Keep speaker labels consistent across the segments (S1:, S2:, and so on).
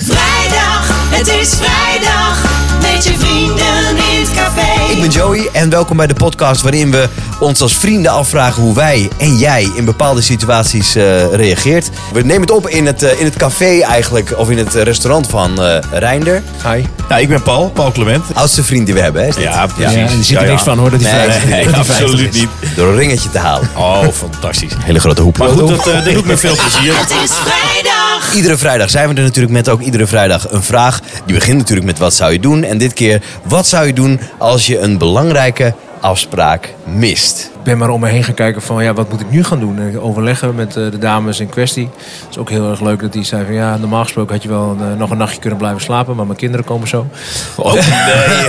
S1: Vrijdag, het is vrijdag. Met je vrienden in het café.
S2: Ik ben Joey en welkom bij de podcast waarin we ons als vrienden afvragen hoe wij en jij in bepaalde situaties eh, reageert. We nemen het op in het, eh, in het café eigenlijk, of in het restaurant van eh Reinder.
S3: Hi.
S4: Ja, ik ben Paul, Paul Clement.
S2: Oudste vriend die we hebben, hè? is dit?
S4: Ja, precies.
S3: Ja, er zit er
S4: Ja,
S3: niks
S4: ja.
S3: van hoor, dat hij
S2: Nee,
S3: vijftig-
S4: nee,
S3: dat hij vijftig
S4: absoluut
S3: is.
S4: niet.
S2: Door een ringetje te halen.
S4: Oh, fantastisch.
S2: Hele grote hoep.
S4: Maar goed, dat, eh, dat doet me veel plezier.
S1: Het is vrijdag.
S2: Iedere vrijdag zijn we er natuurlijk met ook iedere vrijdag een vraag. Die begint natuurlijk met wat zou je doen? En dit keer, wat zou je doen als je een belangrijke afspraak mist?
S3: Ik ben maar om me heen gaan kijken van ja, wat moet ik nu gaan doen? En Overleggen met eh, de dames in kwestie. Het is ook heel erg leuk dat die zei van ja, normaal gesproken had je wel eh, nog een nachtje kunnen blijven slapen, maar mijn kinderen komen zo.
S4: Oh, nee,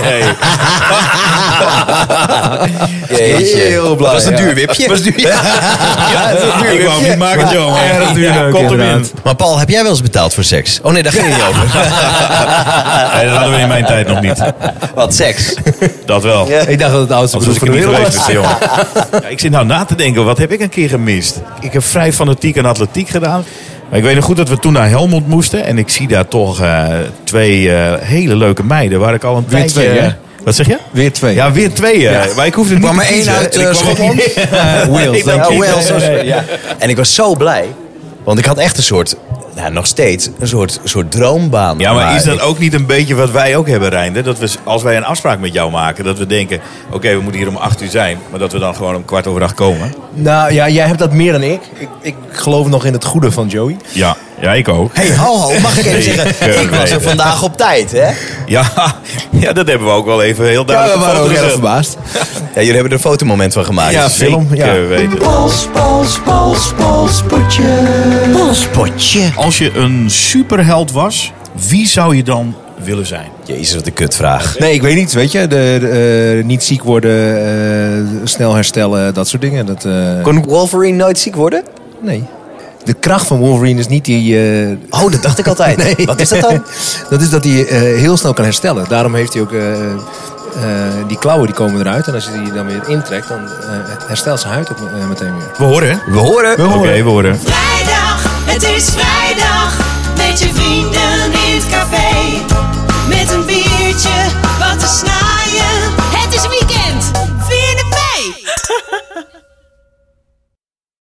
S4: hey.
S2: Jeetje.
S3: Heel blij,
S2: Dat was een
S3: ja.
S2: duur wipje.
S3: Was duur, ja.
S2: dat is een duur
S4: Ik wou hem
S2: wipje.
S4: niet maken, Joe. maar-
S3: erg duur leuk,
S4: komt hem in.
S3: inderdaad.
S2: Maar Paul, heb jij wel eens betaald voor seks? Oh nee, daar ging het niet over.
S4: Nee, dat hadden we in mijn tijd nog niet.
S2: Wat, seks?
S4: Dat wel.
S3: Ik dacht dat het oudste
S4: Anders was
S3: broer
S4: ik
S3: van
S4: er
S3: de
S4: niet
S3: wereld
S4: geweest,
S3: was.
S4: beste jongen. Ja, ik zit nou na te denken, wat heb ik een keer gemist? Ik heb vrij fanatiek aan atletiek gedaan. Maar ik weet nog goed dat we toen naar Helmond moesten. En ik zie daar toch eh, twee eh, hele leuke meiden. Waar ik al een tijdje...
S3: twee, hè?
S4: Wat zeg je?
S3: Weer twee.
S4: Ja, weer twee. eh, Maar ik hoefde niet
S2: kwam
S4: te
S2: er één
S4: kiezen.
S2: uit,
S4: En ik
S2: eh,
S4: kwam ook
S2: Schotland?
S4: niet-
S3: Wales,
S4: Ik denk
S2: Oh,
S4: niet.
S2: wel,
S4: Nee,
S2: zo-
S4: nee, nee.
S2: ja. En ik was zo blij, want ik had echt een soort, nou, nog steeds, een soort, soort droombaan.
S4: Ja, maar is dat
S2: ik-
S4: ook niet een beetje wat wij ook hebben, Reinder? Dat we, als wij een afspraak met jou maken, dat we denken... oké, we moeten hier om acht uur zijn, maar dat we dan gewoon om kwart over acht komen.
S3: Nou ja, jij hebt dat meer dan ik. ik. Ik geloof nog in het goede van Joey.
S4: Ja, ja ik ook.
S2: hey, ho, ho, mag ik even
S4: Nee,
S2: zeggen? Ik
S4: nee,
S2: was er
S4: nee.
S2: vandaag op tijd, hè?
S4: Ja, ja, dat hebben we ook wel even heel duidelijk op foto gezet.
S3: verbaasd.
S2: Ja, jullie hebben er een fotomoment van gemaakt. Dus eh,
S3: Ja,
S2: Zeker.
S3: film. Ja.
S4: Zeker weten.
S1: Pols, pols, pols, polspotje. Polspotje.
S4: Als je een superheld was, wie zou je dan willen zijn?
S2: Jezus, wat een kutvraag.
S3: Nee, ik weet niet, weet je. De, de, eh, niet ziek worden, eh, snel herstellen, dat soort dingen. Dat, eh,
S2: Kon Wolverine nooit ziek worden?
S3: nee. De kracht van Wolverine is niet die... eh,
S2: Oh, dat dacht ik altijd.
S3: Nee.
S2: Wat is dat dan?
S3: dat is dat hij eh, heel snel kan herstellen. Daarom heeft hij ook... eh, eh, die klauwen die komen eruit. En als je die dan weer intrekt, dan eh, herstelt zijn huid ook eh, meteen weer.
S4: We horen.
S2: We horen.
S4: Oké, we horen.
S1: Vrijdag, het is vrijdag. Met je vrienden in het café. Met een biertje, wat te snaaien.